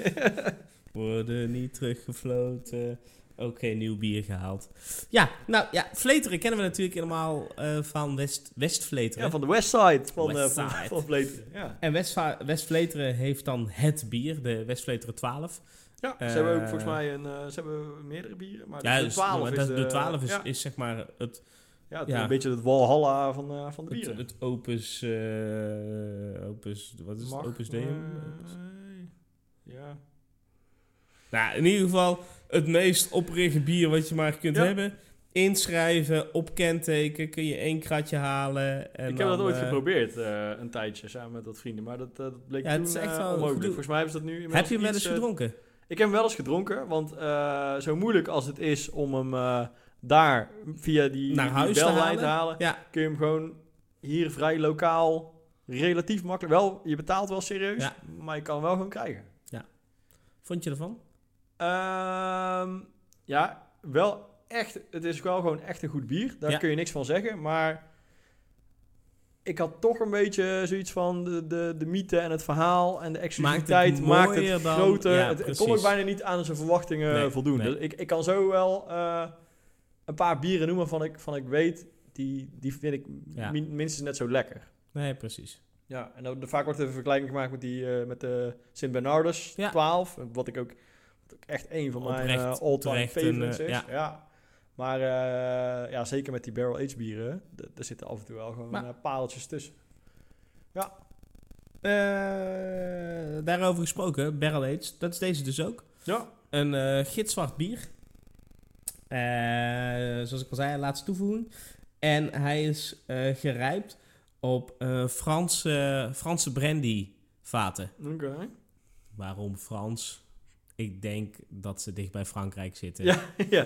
[SPEAKER 2] Worden niet teruggefloten. Oké, nieuw bier gehaald. Ja, nou ja, Vleteren kennen we natuurlijk helemaal eh, van West- West-Vleteren.
[SPEAKER 1] ja, van de Westside van, eh, van,
[SPEAKER 2] Westside.
[SPEAKER 1] van Vleteren. Ja,
[SPEAKER 2] En Westva- West-Vleteren heeft dan het bier, de West-Vleteren 12.
[SPEAKER 1] ja
[SPEAKER 2] Eh,
[SPEAKER 1] ze hebben ook volgens mij een, eh, ze hebben meerdere bieren, maar
[SPEAKER 2] Ja,
[SPEAKER 1] de
[SPEAKER 2] dus-
[SPEAKER 1] 12
[SPEAKER 2] maar
[SPEAKER 1] is
[SPEAKER 2] dat-
[SPEAKER 1] de...
[SPEAKER 2] de 12 is,
[SPEAKER 1] ja,
[SPEAKER 2] is zeg maar het
[SPEAKER 1] ja, het-
[SPEAKER 2] ja.
[SPEAKER 1] een beetje het Walhalla van, eh, van de
[SPEAKER 2] Het,
[SPEAKER 1] bieren.
[SPEAKER 2] het Opus. eh, opus. Wat is
[SPEAKER 1] Mag- eh,
[SPEAKER 2] het? Opus Deum? Opus-
[SPEAKER 1] Nee. Ja.
[SPEAKER 2] Nou, in ieder geval het meest oprechte bier wat je maar kunt
[SPEAKER 1] Ja.
[SPEAKER 2] hebben. Inschrijven op kenteken. Kun je één kratje halen. En
[SPEAKER 1] ik heb dat
[SPEAKER 2] dan,
[SPEAKER 1] ooit
[SPEAKER 2] eh,
[SPEAKER 1] geprobeerd, eh, een tijdje, samen met wat vrienden. Maar dat, eh, dat bleek
[SPEAKER 2] Ja, het
[SPEAKER 1] toen
[SPEAKER 2] is echt
[SPEAKER 1] eh,
[SPEAKER 2] wel
[SPEAKER 1] onmogelijk.
[SPEAKER 2] gedoe.
[SPEAKER 1] Volgens mij hebben ze dat nu inmiddels
[SPEAKER 2] Heb je hem wel
[SPEAKER 1] iets,
[SPEAKER 2] eens
[SPEAKER 1] eh,
[SPEAKER 2] gedronken?
[SPEAKER 1] Ik heb hem wel eens gedronken, want eh, zo moeilijk als het is om hem eh, daar via die,
[SPEAKER 2] Naar
[SPEAKER 1] die
[SPEAKER 2] huis te
[SPEAKER 1] bellijn
[SPEAKER 2] halen? Ja.
[SPEAKER 1] kun je hem gewoon hier vrij lokaal, relatief makkelijk. Wel, je betaalt wel serieus,
[SPEAKER 2] Ja.
[SPEAKER 1] maar je kan hem wel gewoon krijgen.
[SPEAKER 2] Vond je ervan?
[SPEAKER 1] Ehm, ja, wel echt. Het is wel gewoon echt een goed bier. Daar
[SPEAKER 2] Ja.
[SPEAKER 1] kun je niks van zeggen. Maar ik had toch een beetje zoiets van de, de, de mythe en het verhaal en de exclusiviteit maakt het,
[SPEAKER 2] mooier dan-
[SPEAKER 1] groter.
[SPEAKER 2] ja,
[SPEAKER 1] het, het kon
[SPEAKER 2] precies.
[SPEAKER 1] ook bijna niet aan zijn verwachtingen
[SPEAKER 2] Nee,
[SPEAKER 1] voldoen.
[SPEAKER 2] nee.
[SPEAKER 1] Dus ik, ik kan zo wel eh, een paar bieren noemen van ik, van ik weet, die, die vind ik
[SPEAKER 2] Ja.
[SPEAKER 1] min- minstens net zo lekker.
[SPEAKER 2] Nee, precies.
[SPEAKER 1] Ja, en dan, vaak wordt er een vergelijking gemaakt met, die, eh, met de Sint Bernardus
[SPEAKER 2] Ja.
[SPEAKER 1] 12. Wat ik ook, wat ook echt een van mijn eh,
[SPEAKER 2] Oprecht,
[SPEAKER 1] all-time
[SPEAKER 2] terecht een,
[SPEAKER 1] favorites
[SPEAKER 2] eh,
[SPEAKER 1] is.
[SPEAKER 2] ja.
[SPEAKER 1] Ja. Maar eh, ja, zeker met die barrel-aged bieren, d- daar zitten af en toe wel gewoon
[SPEAKER 2] Maar-
[SPEAKER 1] eh, pareltjes tussen.
[SPEAKER 2] Eh, daarover gesproken, Barrel Aids. Dat is deze dus ook.
[SPEAKER 1] Ja.
[SPEAKER 2] Een eh gitzwart bier. Eh, zoals ik al zei, laatst toevoegen. En hij is eh, gerijpt op eh, Franse, Franse brandy vaten.
[SPEAKER 1] Oké.
[SPEAKER 2] Waarom Frans? Ik denk dat ze dicht bij Frankrijk zitten.
[SPEAKER 1] Ja, ja.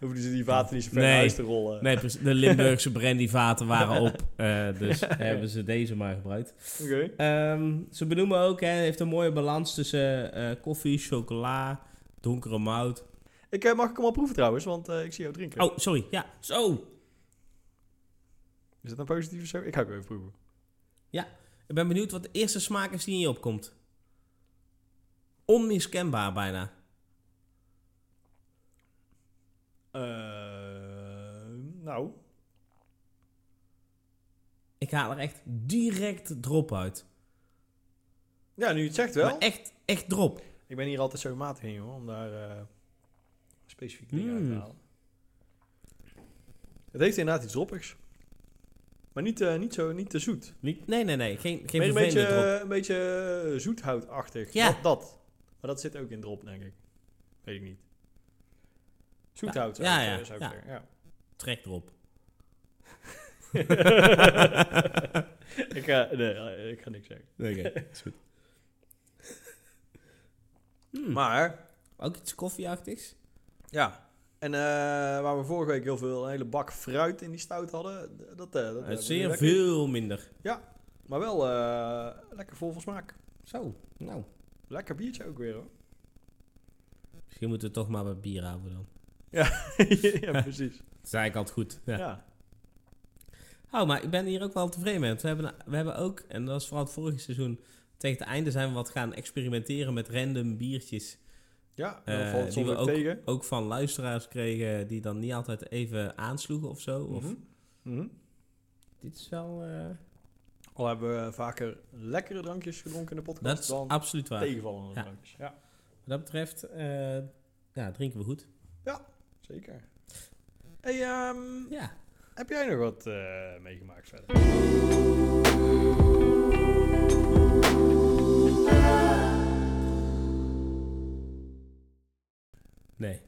[SPEAKER 1] Dan hoeven ze die vaten niet zo ver
[SPEAKER 2] Nee.
[SPEAKER 1] naar huis te rollen.
[SPEAKER 2] Nee, precies. de Limburgse brandy vaten waren op. eh, dus hebben ze deze maar gebruikt.
[SPEAKER 1] Oké.
[SPEAKER 2] Ehm, ze benoemen ook, hè, heeft een mooie balans tussen eh, koffie, chocola, donkere mout.
[SPEAKER 1] Ik, eh, mag ik hem al proeven trouwens, want eh, ik zie jou drinken.
[SPEAKER 2] Oh, sorry. Ja, zo.
[SPEAKER 1] Is dat een positieve zo? Ik ga ook even proeven.
[SPEAKER 2] Ik ben benieuwd wat de eerste smaak is die in je opkomt. Onmiskenbaar bijna.
[SPEAKER 1] nou.
[SPEAKER 2] Ik haal er echt direct drop uit.
[SPEAKER 1] Ja, nu je het zegt wel.
[SPEAKER 2] Maar echt, echt drop.
[SPEAKER 1] Ik ben hier altijd zo matig in, joh, om daar eh, specifiek dingen uit te
[SPEAKER 2] Mm.
[SPEAKER 1] halen. Het heeft inderdaad iets droppigs. Maar niet, eh, niet, zo, niet te zoet.
[SPEAKER 2] Niet- Nee, nee, nee. Geen, geen
[SPEAKER 1] Meer een
[SPEAKER 2] vervelende
[SPEAKER 1] beetje, eh,
[SPEAKER 2] drop.
[SPEAKER 1] een beetje eh, zoethoutachtig.
[SPEAKER 2] Ja.
[SPEAKER 1] Dat, dat. Maar dat zit ook in drop, denk ik. Weet ik niet. Zoethout zou
[SPEAKER 2] Ja,
[SPEAKER 1] ik,
[SPEAKER 2] ja,
[SPEAKER 1] eh, zou ik
[SPEAKER 2] ja.
[SPEAKER 1] zeggen, ja.
[SPEAKER 2] Trek drop.
[SPEAKER 1] ik, ga, nee, eh, ik ga niks zeggen.
[SPEAKER 2] Oké, is goed. Hmm,
[SPEAKER 1] Maar,
[SPEAKER 2] Ook iets koffieachtigs.
[SPEAKER 1] ja. En eh, waar we vorige week heel veel, een hele bak fruit in die stout hadden. d- Dat, eh, dat
[SPEAKER 2] Eh,
[SPEAKER 1] hebben we nu
[SPEAKER 2] zeer
[SPEAKER 1] lekker.
[SPEAKER 2] veel minder.
[SPEAKER 1] Maar wel eh, lekker vol van smaak.
[SPEAKER 2] Zo, nou.
[SPEAKER 1] Lekker biertje ook weer hoor.
[SPEAKER 2] Misschien moeten we het toch maar bij bier houden dan.
[SPEAKER 1] ja, precies.
[SPEAKER 2] Dat is eigenlijk altijd goed. Ja.
[SPEAKER 1] Ja.
[SPEAKER 2] Oh, maar ik ben hier ook wel tevreden mee. want We hebben, we hebben ook, en dat is vooral het vorige seizoen, tegen het einde zijn we wat gaan experimenteren met random biertjes.
[SPEAKER 1] Ja,
[SPEAKER 2] Eh,
[SPEAKER 1] dan valt het
[SPEAKER 2] die
[SPEAKER 1] soms
[SPEAKER 2] we
[SPEAKER 1] ook tegen.
[SPEAKER 2] Ook van luisteraars kregen die dan niet altijd even aansloegen of zo. Of,
[SPEAKER 1] Mhm. Mhm.
[SPEAKER 2] Dit is wel... eh,
[SPEAKER 1] Al hebben we vaker lekkere drankjes gedronken in de podcast
[SPEAKER 2] dat is
[SPEAKER 1] dan
[SPEAKER 2] absoluut waar.
[SPEAKER 1] tegenvallende
[SPEAKER 2] Ja.
[SPEAKER 1] drankjes. Ja,
[SPEAKER 2] Wat dat betreft, eh, ja, drinken we goed.
[SPEAKER 1] zeker. Hey, ehm,
[SPEAKER 2] Ja.
[SPEAKER 1] heb jij nog wat eh, meegemaakt verder?
[SPEAKER 2] Nee.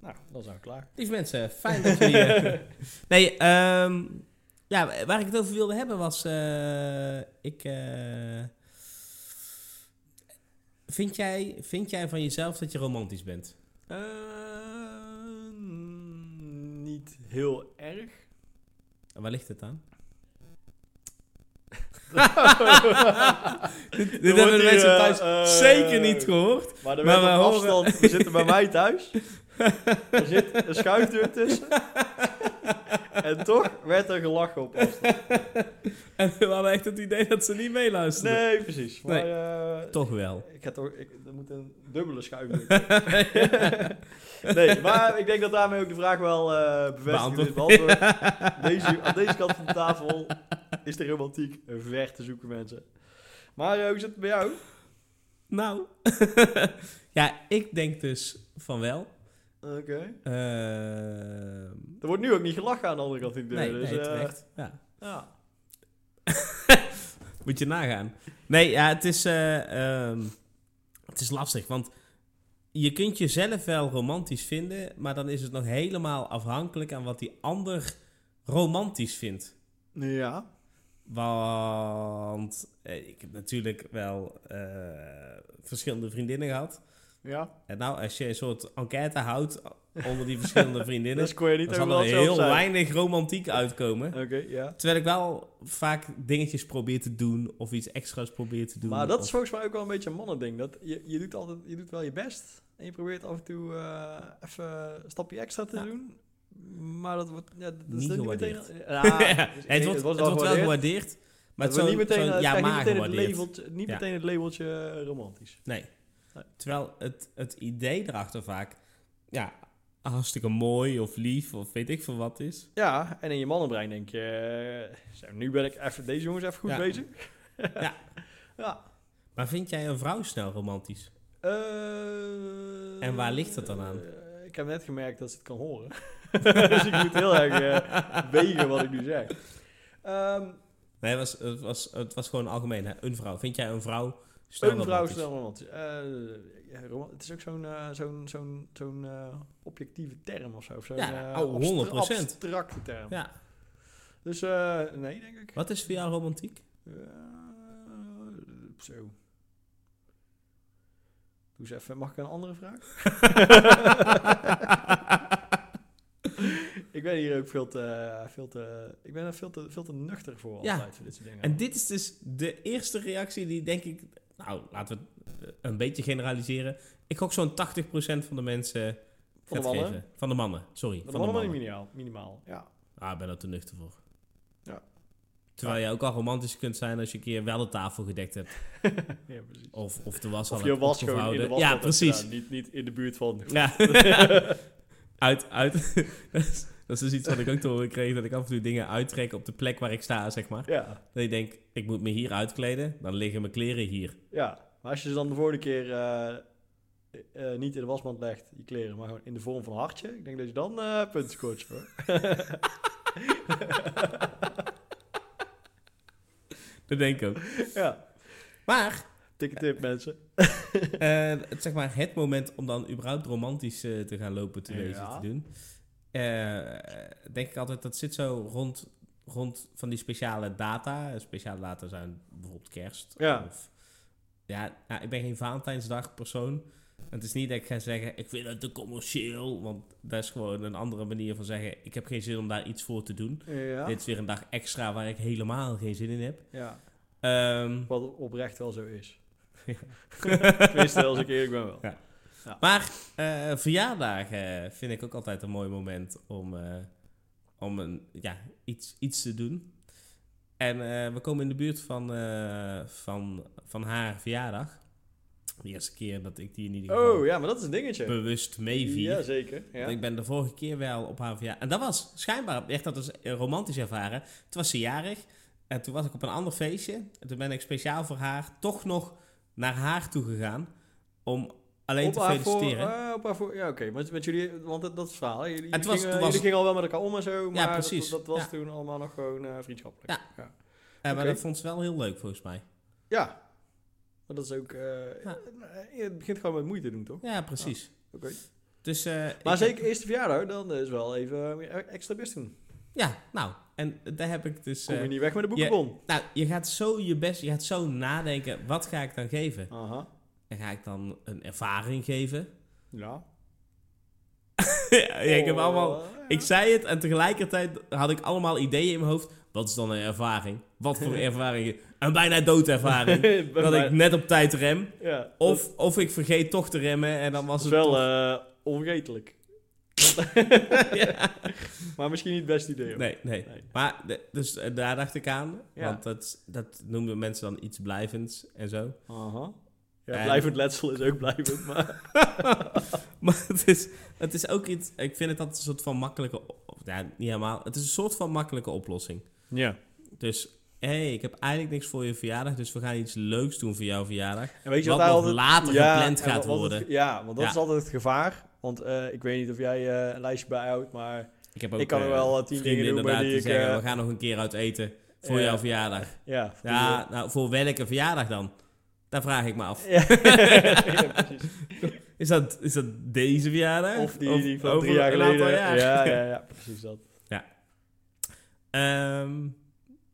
[SPEAKER 1] Nou, dan zijn we klaar.
[SPEAKER 2] Lieve mensen, fijn dat jullie... eh, nee, ehm, ja, waar ik het over wilde hebben was... eh, ik... eh, vind, jij, vind jij van jezelf dat je romantisch bent?
[SPEAKER 1] Eh, niet heel erg.
[SPEAKER 2] En waar ligt het aan?
[SPEAKER 1] Dit, eh,
[SPEAKER 2] Dit hebben de mensen thuis zeker niet gehoord.
[SPEAKER 1] Maar er
[SPEAKER 2] Maar
[SPEAKER 1] werd
[SPEAKER 2] we
[SPEAKER 1] op
[SPEAKER 2] horen-
[SPEAKER 1] afstand. We zitten bij mij thuis. Er zit een schuifdeur tussen. En toch werd er gelachen op afstand.
[SPEAKER 2] En we hadden echt het idee dat ze niet meeluisterden.
[SPEAKER 1] Nee, precies. Maar,
[SPEAKER 2] Nee.
[SPEAKER 1] eh,
[SPEAKER 2] Toch wel.
[SPEAKER 1] Ik ga toch, ik, er moet een dubbele schuifdeur. nee, maar ik denk dat daarmee ook de vraag wel eh bevestigd is. Beantwoord. Deze, aan deze kant van de tafel is de romantiek ver te zoeken, mensen. Maar eh, hoe zit het bij jou?
[SPEAKER 2] Nou. ja, ik denk dus van wel. Eh,
[SPEAKER 1] Oké.
[SPEAKER 2] Ehm,
[SPEAKER 1] Er wordt nu ook niet gelachen aan de andere kant van de deur.
[SPEAKER 2] nee,
[SPEAKER 1] dus,
[SPEAKER 2] nee,
[SPEAKER 1] eh,
[SPEAKER 2] terecht. Ja.
[SPEAKER 1] ja.
[SPEAKER 2] Moet je nagaan. Nee, ja, het is, eh, ehm, het is lastig. Want je kunt jezelf wel romantisch vinden. Maar dan is het nog helemaal afhankelijk aan wat die ander romantisch vindt.
[SPEAKER 1] ja.
[SPEAKER 2] Want eh, ik heb natuurlijk wel eh, verschillende vriendinnen gehad.
[SPEAKER 1] Ja.
[SPEAKER 2] En nou, als je een soort enquête houdt onder die verschillende vriendinnen,
[SPEAKER 1] Dus kon je niet
[SPEAKER 2] dan zal
[SPEAKER 1] helemaal
[SPEAKER 2] er heel
[SPEAKER 1] zelf zijn.
[SPEAKER 2] weinig romantiek uitkomen.
[SPEAKER 1] Oké, ja.
[SPEAKER 2] Terwijl ik wel vaak dingetjes probeer te doen of iets extra's probeer te doen.
[SPEAKER 1] Maar dat
[SPEAKER 2] of-
[SPEAKER 1] is volgens mij ook wel een beetje een mannending. Dat je, je, doet altijd, je doet wel je best. En je probeert af en toe eh, even een stapje extra te
[SPEAKER 2] Ja.
[SPEAKER 1] doen. Maar dat wordt ja, dat is
[SPEAKER 2] Niet
[SPEAKER 1] dan niet meteen...
[SPEAKER 2] gewaardeerd.
[SPEAKER 1] Ja,
[SPEAKER 2] Ja,
[SPEAKER 1] dus
[SPEAKER 2] het wordt, het wordt wel gewaardeerd. maar
[SPEAKER 1] Het wordt
[SPEAKER 2] het zo,
[SPEAKER 1] niet meteen,
[SPEAKER 2] zo'n
[SPEAKER 1] het
[SPEAKER 2] ja,
[SPEAKER 1] krijgt niet
[SPEAKER 2] maar
[SPEAKER 1] meteen het
[SPEAKER 2] gewaardeerd.
[SPEAKER 1] labeltje, niet
[SPEAKER 2] Ja.
[SPEAKER 1] meteen het labeltje eh, romantisch.
[SPEAKER 2] Nee.
[SPEAKER 1] Nee.
[SPEAKER 2] Terwijl het, het idee erachter vaak ja, hartstikke mooi of lief of weet ik veel wat is.
[SPEAKER 1] Ja, en in je mannenbrein denk je... eh, zo, nu ben ik even deze jongens even goed
[SPEAKER 2] Ja.
[SPEAKER 1] bezig.
[SPEAKER 2] Ja.
[SPEAKER 1] ja.
[SPEAKER 2] Maar vind jij een vrouw snel romantisch?
[SPEAKER 1] Eh,
[SPEAKER 2] En waar ligt dat dan aan?
[SPEAKER 1] eh, ik heb net gemerkt dat ze het kan horen. dus ik moet heel erg eh, wegen wat ik nu zeg. Ehm,
[SPEAKER 2] Nee, het was, het was, het was gewoon algemeen. Hè? Een vrouw. Vind jij een vrouw snel
[SPEAKER 1] een vrouw
[SPEAKER 2] romantisch?
[SPEAKER 1] snel romantisch. Eh, ja, rom- het is ook zo'n eh, zo'n zo'n zo'n eh, objectieve term of zo. Of zo'n,
[SPEAKER 2] Ja,
[SPEAKER 1] eh,
[SPEAKER 2] oh, 100%.
[SPEAKER 1] abstracte term.
[SPEAKER 2] Ja.
[SPEAKER 1] Dus eh, nee, denk ik.
[SPEAKER 2] Wat is voor jou romantiek?
[SPEAKER 1] Eh, zo. Doe eens even. Mag ik een andere vraag? ik ben hier ook veel te, veel te, ik ben er veel te, veel te nuchter voor
[SPEAKER 2] Ja.
[SPEAKER 1] altijd voor dit soort dingen.
[SPEAKER 2] En dit is dus de eerste reactie die denk ik... Nou, laten we het een beetje generaliseren. Ik gok zo'n 80% van de mensen
[SPEAKER 1] van de
[SPEAKER 2] gaat
[SPEAKER 1] mannen,
[SPEAKER 2] geven. Van de mannen, sorry.
[SPEAKER 1] van de mannen minimaal, minimaal. Ja.
[SPEAKER 2] Ah, ik ben daar te nuchter voor.
[SPEAKER 1] Ja.
[SPEAKER 2] Terwijl je ook al romantisch kunt zijn als je een keer wel de tafel gedekt hebt.
[SPEAKER 1] ja, precies.
[SPEAKER 2] Of, of de was al
[SPEAKER 1] Of je
[SPEAKER 2] hebt
[SPEAKER 1] was gewoon in de was
[SPEAKER 2] opgevouwen. Ja, precies.
[SPEAKER 1] Niet, niet in de buurt van.
[SPEAKER 2] Ja. uit, uit. dat, is, dat is dus iets wat ik ook te horen kreeg. Dat ik af en toe dingen uittrek op de plek waar ik sta, zeg maar.
[SPEAKER 1] Ja,
[SPEAKER 2] Dat ik denk, ik moet me hier uitkleden. Dan liggen mijn kleren hier.
[SPEAKER 1] ja. Maar als je ze dan de volgende keer eh, eh, niet in de wasmand legt, je kleren, maar gewoon in de vorm van een hartje, ik denk dat je dan eh punten scoort hoor.
[SPEAKER 2] Dat denk ik ook.
[SPEAKER 1] ja,
[SPEAKER 2] Maar,
[SPEAKER 1] dikke tip mensen.
[SPEAKER 2] eh, het, zeg maar, het moment om dan überhaupt romantisch eh, te gaan lopen te wezen
[SPEAKER 1] Ja.
[SPEAKER 2] te doen. eh, denk ik altijd, dat zit zo rond, rond van die speciale data. Speciale data zijn bijvoorbeeld kerst.
[SPEAKER 1] Ja.
[SPEAKER 2] Of, ja, nou, ik ben geen Valentijnsdag persoon. Het is niet dat ik ga zeggen, ik vind het te commercieel. Want dat is gewoon een andere manier van zeggen, ik heb geen zin om daar iets voor te doen.
[SPEAKER 1] Ja.
[SPEAKER 2] Dit is weer een dag extra waar ik helemaal geen zin in heb.
[SPEAKER 1] ja,
[SPEAKER 2] Ehm,
[SPEAKER 1] wat oprecht wel zo is. Tenminste, als ik eerlijk ben wel.
[SPEAKER 2] maar eh, verjaardagen vind ik ook altijd een mooi moment om eh, om een, ja, iets, iets te doen. En eh, we komen in de buurt van, eh, van, van haar verjaardag. De eerste keer dat ik die in ieder geval
[SPEAKER 1] Oh, ja, maar dat is een dingetje.
[SPEAKER 2] bewust meevier.
[SPEAKER 1] Ja, zeker. Ja.
[SPEAKER 2] Want Ik ben de vorige keer wel op haar verjaardag. En dat was schijnbaar echt dat is eh, romantisch ervaren. Toen was ze jarig. En toen was ik op een ander feestje. En toen ben ik speciaal voor haar toch nog naar haar toe gegaan. Om alleen
[SPEAKER 1] op
[SPEAKER 2] te
[SPEAKER 1] haar voor,
[SPEAKER 2] feliciteren.
[SPEAKER 1] eh, op haar voor, ja, oké. Met, met jullie, want dat, dat is het verhaal. hè. Jullie,
[SPEAKER 2] Het was-
[SPEAKER 1] gingen,
[SPEAKER 2] toen was-
[SPEAKER 1] jullie gingen al wel met elkaar om en zo, maar dat-
[SPEAKER 2] precies.
[SPEAKER 1] Dat, was
[SPEAKER 2] Ja.
[SPEAKER 1] toen allemaal nog gewoon eh, vriendschappelijk.
[SPEAKER 2] Ja.
[SPEAKER 1] ja.
[SPEAKER 2] Eh, maar
[SPEAKER 1] oké.
[SPEAKER 2] dat vond ze wel heel leuk volgens mij.
[SPEAKER 1] Ja. Maar dat is ook... eh,
[SPEAKER 2] Ja.
[SPEAKER 1] eh, Het begint gewoon met moeite te doen, toch?
[SPEAKER 2] Ja, precies.
[SPEAKER 1] Oké.
[SPEAKER 2] Dus, eh,
[SPEAKER 1] Oh. Maar
[SPEAKER 2] ik-
[SPEAKER 1] zeker eerste verjaardag, dan is wel even eh, extra best doen.
[SPEAKER 2] Ja, nou. En daar heb ik dus...
[SPEAKER 1] Kom
[SPEAKER 2] eh,
[SPEAKER 1] je niet weg met een boekenbon.
[SPEAKER 2] nou, je gaat zo je best... Je gaat zo nadenken. Wat ga ik dan geven?
[SPEAKER 1] Aha.
[SPEAKER 2] En ga ik dan een ervaring geven?
[SPEAKER 1] Ja.
[SPEAKER 2] ja, ik heb
[SPEAKER 1] Oh,
[SPEAKER 2] allemaal...
[SPEAKER 1] ja.
[SPEAKER 2] Ik zei het en tegelijkertijd had ik allemaal ideeën in mijn hoofd. Wat is dan een ervaring? Wat voor ervaring? Een bijna doodervaring.
[SPEAKER 1] Ben
[SPEAKER 2] dat
[SPEAKER 1] blij.
[SPEAKER 2] ik net op tijd rem.
[SPEAKER 1] Ja. dat
[SPEAKER 2] Of, of ik vergeet toch te remmen en dan was
[SPEAKER 1] is
[SPEAKER 2] het...
[SPEAKER 1] wel
[SPEAKER 2] toch-
[SPEAKER 1] eh, onvergetelijk. Maar misschien niet het beste idee. hoor.
[SPEAKER 2] Nee, nee.
[SPEAKER 1] Nee.
[SPEAKER 2] Maar de- dus eh, daar dacht ik aan.
[SPEAKER 1] Ja.
[SPEAKER 2] Want dat, dat noemden mensen dan iets blijvends en zo.
[SPEAKER 1] Aha. Ja,
[SPEAKER 2] En-
[SPEAKER 1] blijvend letsel is ook blijvend, maar...
[SPEAKER 2] Maar het is, het is ook iets... Ik vind het altijd een soort van makkelijke... o- of Ja, niet helemaal. Het is een soort van makkelijke oplossing.
[SPEAKER 1] Ja.
[SPEAKER 2] Dus, hé, hey, ik heb eigenlijk niks voor je verjaardag. Dus we gaan iets leuks doen voor jouw verjaardag.
[SPEAKER 1] En weet je
[SPEAKER 2] Wat
[SPEAKER 1] wat, daar
[SPEAKER 2] nog
[SPEAKER 1] altijd-
[SPEAKER 2] later gepland
[SPEAKER 1] en
[SPEAKER 2] gaat
[SPEAKER 1] wat het-
[SPEAKER 2] worden.
[SPEAKER 1] ja, want dat
[SPEAKER 2] Ja.
[SPEAKER 1] is altijd het gevaar. Want eh, ik weet niet of jij eh, een lijstje bijhoudt, maar
[SPEAKER 2] Ik, heb ook,
[SPEAKER 1] Ik kan er
[SPEAKER 2] eh,
[SPEAKER 1] wel, eh, tien
[SPEAKER 2] vrienden
[SPEAKER 1] dingen doen, maar
[SPEAKER 2] inderdaad
[SPEAKER 1] die
[SPEAKER 2] die
[SPEAKER 1] ik,
[SPEAKER 2] zeggen,
[SPEAKER 1] eh,
[SPEAKER 2] we gaan nog een keer uit eten voor
[SPEAKER 1] Ja.
[SPEAKER 2] jouw verjaardag.
[SPEAKER 1] ja.
[SPEAKER 2] Ja, nou, voor welke verjaardag dan? Daar vraag ik me af.
[SPEAKER 1] Ja. Ja, precies.
[SPEAKER 2] Is dat, is dat deze verjaardag?
[SPEAKER 1] Of die, die van
[SPEAKER 2] over
[SPEAKER 1] drie jaar
[SPEAKER 2] een aantal
[SPEAKER 1] geleden.
[SPEAKER 2] jaar?
[SPEAKER 1] Ja, ja, ja, precies dat.
[SPEAKER 2] Ehm,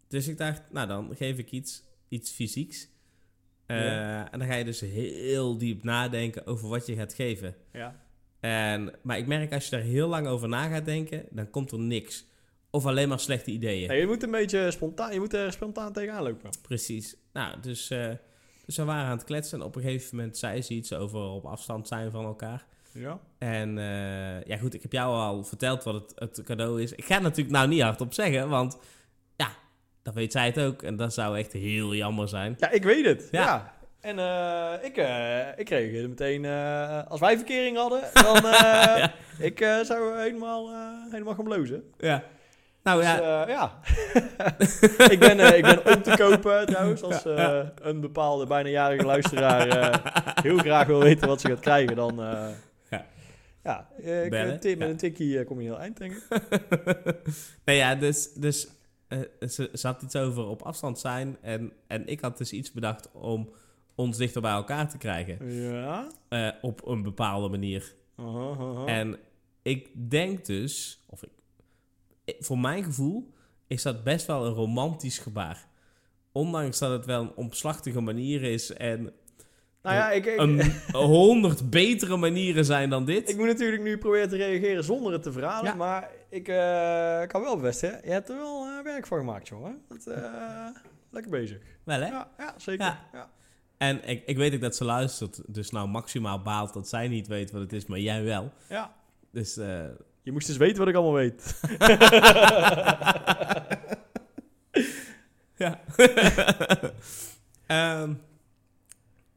[SPEAKER 2] dus ik dacht, nou dan geef ik iets, iets fysieks. Eh,
[SPEAKER 1] Ja.
[SPEAKER 2] En dan ga je dus heel diep nadenken over wat je gaat geven.
[SPEAKER 1] Ja.
[SPEAKER 2] En, maar ik merk als je daar heel lang over na gaat denken, dan komt er niks. Of alleen maar slechte ideeën.
[SPEAKER 1] Nee, je moet een beetje spontaan, je moet er spontaan tegenaan lopen.
[SPEAKER 2] Precies. Nou, dus, eh, dus we waren aan het kletsen. En op een gegeven moment zei ze iets over op afstand zijn van elkaar.
[SPEAKER 1] Ja.
[SPEAKER 2] En eh, ja, goed, ik heb jou al verteld wat het, het cadeau is. Ik ga het natuurlijk nou niet hardop zeggen, want ja, dan weet zij het ook. En dat zou echt heel jammer zijn.
[SPEAKER 1] Ja, ik weet het.
[SPEAKER 2] Ja.
[SPEAKER 1] Ja. En eh, ik, eh ik reageerde meteen, eh, als wij verkering hadden, dan eh, ik eh, zou helemaal, eh, helemaal gaan blozen.
[SPEAKER 2] Ja. Nou
[SPEAKER 1] Dus,
[SPEAKER 2] ja,
[SPEAKER 1] eh, ja. ik, ben, eh, ik ben om te kopen trouwens, als eh, een bepaalde bijna jarige luisteraar eh, heel graag wil weten wat ze gaat krijgen, dan... eh,
[SPEAKER 2] Ja.
[SPEAKER 1] ja, eh, ik,
[SPEAKER 2] Bellen,
[SPEAKER 1] eh, Tim, met
[SPEAKER 2] ja.
[SPEAKER 1] een tikkie eh, kom je heel eind, denk ik.
[SPEAKER 2] nou ja, dus, dus eh, ze, ze had iets over op afstand zijn. En, en ik had dus iets bedacht om ons dichter bij elkaar te krijgen.
[SPEAKER 1] Ja. Uh-huh,
[SPEAKER 2] Eh, op een bepaalde manier.
[SPEAKER 1] Aha, aha.
[SPEAKER 2] En ik denk dus, of ik, ik- voor mijn gevoel, is dat best wel een romantisch gebaar. Ondanks dat het wel een omslachtige manier is en
[SPEAKER 1] nou ja, ik, ik,
[SPEAKER 2] een honderd betere manieren zijn dan dit.
[SPEAKER 1] Ik moet natuurlijk nu proberen te reageren zonder het te verhalen,
[SPEAKER 2] Ja.
[SPEAKER 1] maar ik eh, kan wel best, hè? Je hebt er wel eh, werk van gemaakt, jongen. Dat, eh, lekker bezig.
[SPEAKER 2] wel hè?
[SPEAKER 1] Ja, ja zeker.
[SPEAKER 2] Ja.
[SPEAKER 1] Ja.
[SPEAKER 2] En ik, ik weet ook dat ze luistert, dus nou maximaal baalt dat zij niet weet wat het is, maar jij wel.
[SPEAKER 1] Ja.
[SPEAKER 2] Dus eh,
[SPEAKER 1] Je moest eens weten wat ik allemaal weet.
[SPEAKER 2] ja. Ehm,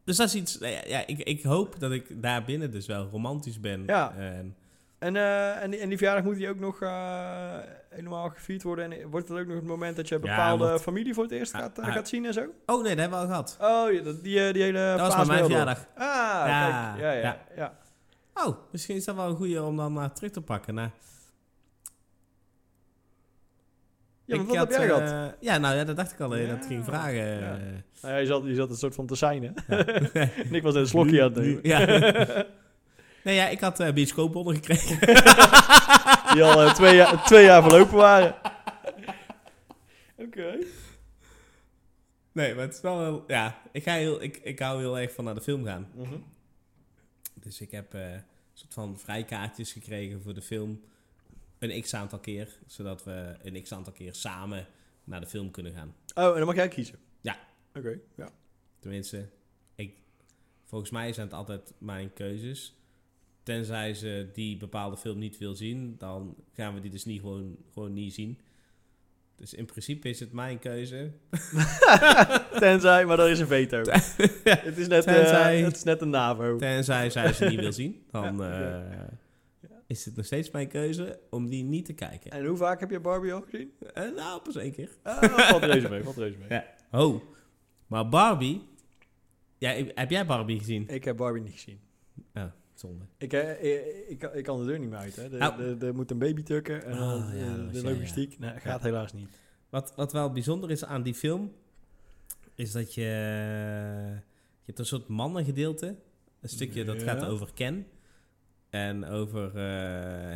[SPEAKER 2] dus dat is iets, nou ja, ja, ik, ik hoop dat ik daarbinnen dus wel romantisch ben.
[SPEAKER 1] Ja.
[SPEAKER 2] En
[SPEAKER 1] En, eh, en, die- en die verjaardag moet die ook nog eh, helemaal gevierd worden. En wordt het ook nog het moment dat je
[SPEAKER 2] Ja,
[SPEAKER 1] bepaalde
[SPEAKER 2] want-
[SPEAKER 1] familie voor het eerst
[SPEAKER 2] Ah,
[SPEAKER 1] gaat, eh,
[SPEAKER 2] ah.
[SPEAKER 1] gaat zien en zo?
[SPEAKER 2] Oh nee, dat hebben we al gehad.
[SPEAKER 1] Oh, ja, dat- die, eh, die hele
[SPEAKER 2] Dat was
[SPEAKER 1] fase
[SPEAKER 2] maar mijn
[SPEAKER 1] wel door.
[SPEAKER 2] verjaardag.
[SPEAKER 1] Ah,
[SPEAKER 2] Ja,
[SPEAKER 1] kijk. Ja, ja,
[SPEAKER 2] ja.
[SPEAKER 1] ja.
[SPEAKER 2] Oh, misschien is dat wel een goede om dan naar terug te pakken. Naar,
[SPEAKER 1] Ja, maar
[SPEAKER 2] Ik
[SPEAKER 1] wat heb
[SPEAKER 2] had,
[SPEAKER 1] jij gehad?
[SPEAKER 2] eh, Ja, nou ja, dat dacht ik al dat je dat
[SPEAKER 1] Ja.
[SPEAKER 2] ging vragen.
[SPEAKER 1] Ja.
[SPEAKER 2] eh.
[SPEAKER 1] Nou ja, je zat, je zat een soort van te zijn, hè? en ik was net een slokje aan het nemen.
[SPEAKER 2] Ja. nee, ja, ik had eh bioscoopbonnen gekregen.
[SPEAKER 1] Die al eh, twee, jaar, twee jaar verlopen waren. Oké.
[SPEAKER 2] Nee, maar het is wel heel... Ja, ik, ga heel, ik, ik hou heel erg van naar de film gaan.
[SPEAKER 1] Mhm.
[SPEAKER 2] Dus ik heb eh, een soort van vrijkaartjes gekregen voor de film. Een x-aantal keer. Zodat we een x-aantal keer samen naar de film kunnen gaan.
[SPEAKER 1] Oh, en dan mag jij kiezen?
[SPEAKER 2] Ja.
[SPEAKER 1] Oké, ja.
[SPEAKER 2] Tenminste, ik, volgens mij zijn het altijd mijn keuzes. Tenzij ze die bepaalde film niet wil zien, dan gaan we die dus niet gewoon, gewoon niet zien. Dus in principe is het mijn keuze.
[SPEAKER 1] Tenzij, maar dat is een veto. het, is net, eh,
[SPEAKER 2] Tenzij-
[SPEAKER 1] het is net een NAVO.
[SPEAKER 2] Tenzij zij ze niet wil zien, dan eh,
[SPEAKER 1] Ja.
[SPEAKER 2] is het nog steeds mijn keuze om die niet te kijken.
[SPEAKER 1] En hoe vaak heb je Barbie al gezien?
[SPEAKER 2] Eh, nou, pas één keer.
[SPEAKER 1] Ah, valt reuze mee, valt reuze mee.
[SPEAKER 2] Ja. Oh, maar Barbie. Ja, heb jij Barbie gezien?
[SPEAKER 1] Ik heb Barbie niet gezien.
[SPEAKER 2] Oh, zonde.
[SPEAKER 1] Ik, eh, ik, ik, ik kan de deur niet meer uit. Hè. Er
[SPEAKER 2] Nou.
[SPEAKER 1] er- er moet een baby tukken en dan,
[SPEAKER 2] Oh, ja,
[SPEAKER 1] eh,
[SPEAKER 2] dat was-
[SPEAKER 1] de
[SPEAKER 2] ja, ja.
[SPEAKER 1] logistiek. Nee, gaat helaas niet.
[SPEAKER 2] Wat, wat wel bijzonder is aan die film, is dat je... Je hebt een soort mannengedeelte. Een stukje dat
[SPEAKER 1] Ja.
[SPEAKER 2] gaat over Ken. En over eh,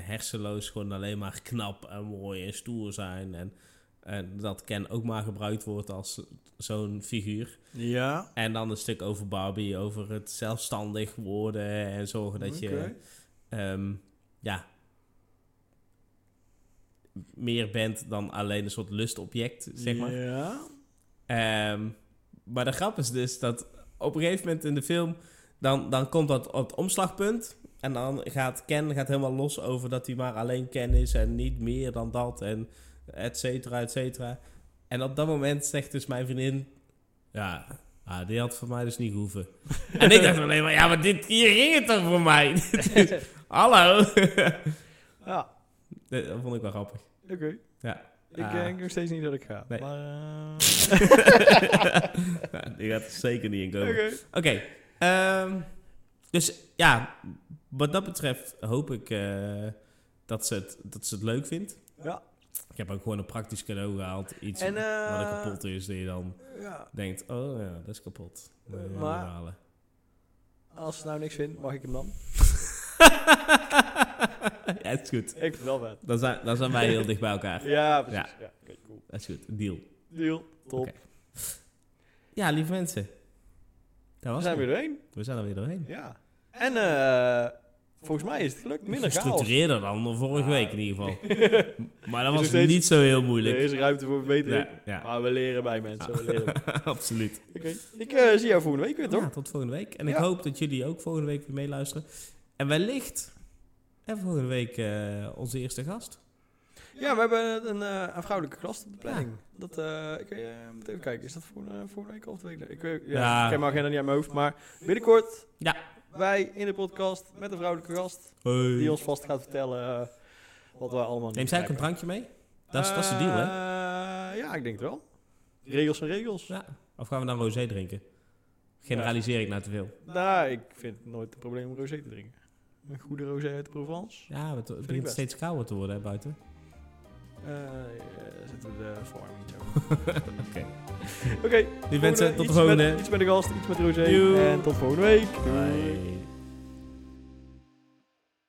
[SPEAKER 2] hersenloos gewoon alleen maar knap en mooi en stoer zijn. En, en dat Ken ook maar gebruikt wordt als zo'n figuur.
[SPEAKER 1] Ja.
[SPEAKER 2] En dan een stuk over Barbie, over het zelfstandig worden en zorgen dat je...
[SPEAKER 1] Oké.
[SPEAKER 2] ehm, ja, meer bent dan alleen een soort lustobject, zeg maar.
[SPEAKER 1] Ja.
[SPEAKER 2] Ehm, maar de grap is dus dat op een gegeven moment in de film, dan, dan komt dat op het omslagpunt. En dan gaat Ken gaat helemaal los over dat hij maar alleen Ken is en niet meer dan dat en et cetera, et cetera. En op dat moment zegt dus mijn vriendin, ja, ah, die had voor mij dus niet gehoeven. en ik dacht alleen maar, ja, maar dit, hier ging het toch voor mij? Hallo.
[SPEAKER 1] Ja,
[SPEAKER 2] dat vond ik wel grappig.
[SPEAKER 1] oké.
[SPEAKER 2] Ja.
[SPEAKER 1] Ik
[SPEAKER 2] Ah.
[SPEAKER 1] denk nog steeds niet dat ik ga.
[SPEAKER 2] Nee.
[SPEAKER 1] Maar, eh,
[SPEAKER 2] Ja, die gaat er zeker niet in komen.
[SPEAKER 1] oké.
[SPEAKER 2] Oké. ehm, dus ja, wat dat betreft hoop ik eh, dat, ze het, dat ze het leuk vindt.
[SPEAKER 1] Ja.
[SPEAKER 2] Ik heb ook gewoon een praktisch cadeau gehaald. Iets
[SPEAKER 1] En, eh,
[SPEAKER 2] wat er kapot is, die je dan
[SPEAKER 1] Ja.
[SPEAKER 2] denkt, oh ja, dat is kapot. Moet je
[SPEAKER 1] Eh,
[SPEAKER 2] weer
[SPEAKER 1] maar-
[SPEAKER 2] halen.
[SPEAKER 1] Als ze nou niks vindt, mag ik hem dan?
[SPEAKER 2] ja, het is goed.
[SPEAKER 1] Ik vind het wel vet.
[SPEAKER 2] Dan zijn, dan zijn wij heel dicht bij elkaar.
[SPEAKER 1] Ja, precies. Ja. Oké, cool.
[SPEAKER 2] Dat is goed, deal.
[SPEAKER 1] Deal. Top.
[SPEAKER 2] Oké. Ja, lieve mensen. Dat
[SPEAKER 1] We
[SPEAKER 2] was
[SPEAKER 1] zijn
[SPEAKER 2] het.
[SPEAKER 1] weer doorheen.
[SPEAKER 2] we zijn er weer doorheen.
[SPEAKER 1] Ja. En eh, volgens mij is het gelukt. Minder chaos.
[SPEAKER 2] Gestructureerder dan de vorige week in ieder geval. maar dat
[SPEAKER 1] Is
[SPEAKER 2] was
[SPEAKER 1] nog steeds-
[SPEAKER 2] niet zo heel
[SPEAKER 1] Er
[SPEAKER 2] moeilijk.
[SPEAKER 1] is ruimte voor verbetering.
[SPEAKER 2] Ja, ja.
[SPEAKER 1] Maar Ah, we leren bij mensen. We leren.
[SPEAKER 2] Absoluut.
[SPEAKER 1] Oké. Ik eh, zie jou volgende week weer, toch?
[SPEAKER 2] Ja, tot volgende week. En ik
[SPEAKER 1] Ja.
[SPEAKER 2] hoop dat jullie ook volgende week weer meeluisteren. En wellicht hebben we volgende week eh, onze eerste gast.
[SPEAKER 1] Ja, we hebben een, eh, een vrouwelijke klas op de planning. Dat, eh, ik eh, moet even kijken, is dat voor, eh, voor week of twee week? Ik, weet- ja,
[SPEAKER 2] Ja.
[SPEAKER 1] ik ken mijn agenda niet aan mijn hoofd, maar binnenkort
[SPEAKER 2] Ja.
[SPEAKER 1] wij in de podcast met een vrouwelijke gast die ons vast gaat vertellen eh, wat wij allemaal
[SPEAKER 2] Neem
[SPEAKER 1] niet
[SPEAKER 2] zij ook een
[SPEAKER 1] begrijpen.
[SPEAKER 2] drankje mee? Dat is, dat is de deal, hè?
[SPEAKER 1] Eh, ja, ik denk het wel. Regels zijn regels.
[SPEAKER 2] Ja. Of gaan we dan rosé drinken? Generaliseer ik nou te veel.
[SPEAKER 1] Nou, ik vind het nooit een probleem om rosé te drinken. Een goede rosé uit de Provence.
[SPEAKER 2] Ja, het
[SPEAKER 1] ik
[SPEAKER 2] begint
[SPEAKER 1] best.
[SPEAKER 2] steeds kouder te worden hè, buiten.
[SPEAKER 1] Eh, eh, zetten we de verwarming niet zo.
[SPEAKER 2] Oké.
[SPEAKER 1] Oké,
[SPEAKER 2] Lieve mensen, tot de
[SPEAKER 1] iets
[SPEAKER 2] volgende.
[SPEAKER 1] Met, iets met de gast, iets met rosé.
[SPEAKER 2] Joe.
[SPEAKER 1] En tot volgende week. Doei.
[SPEAKER 2] Bye.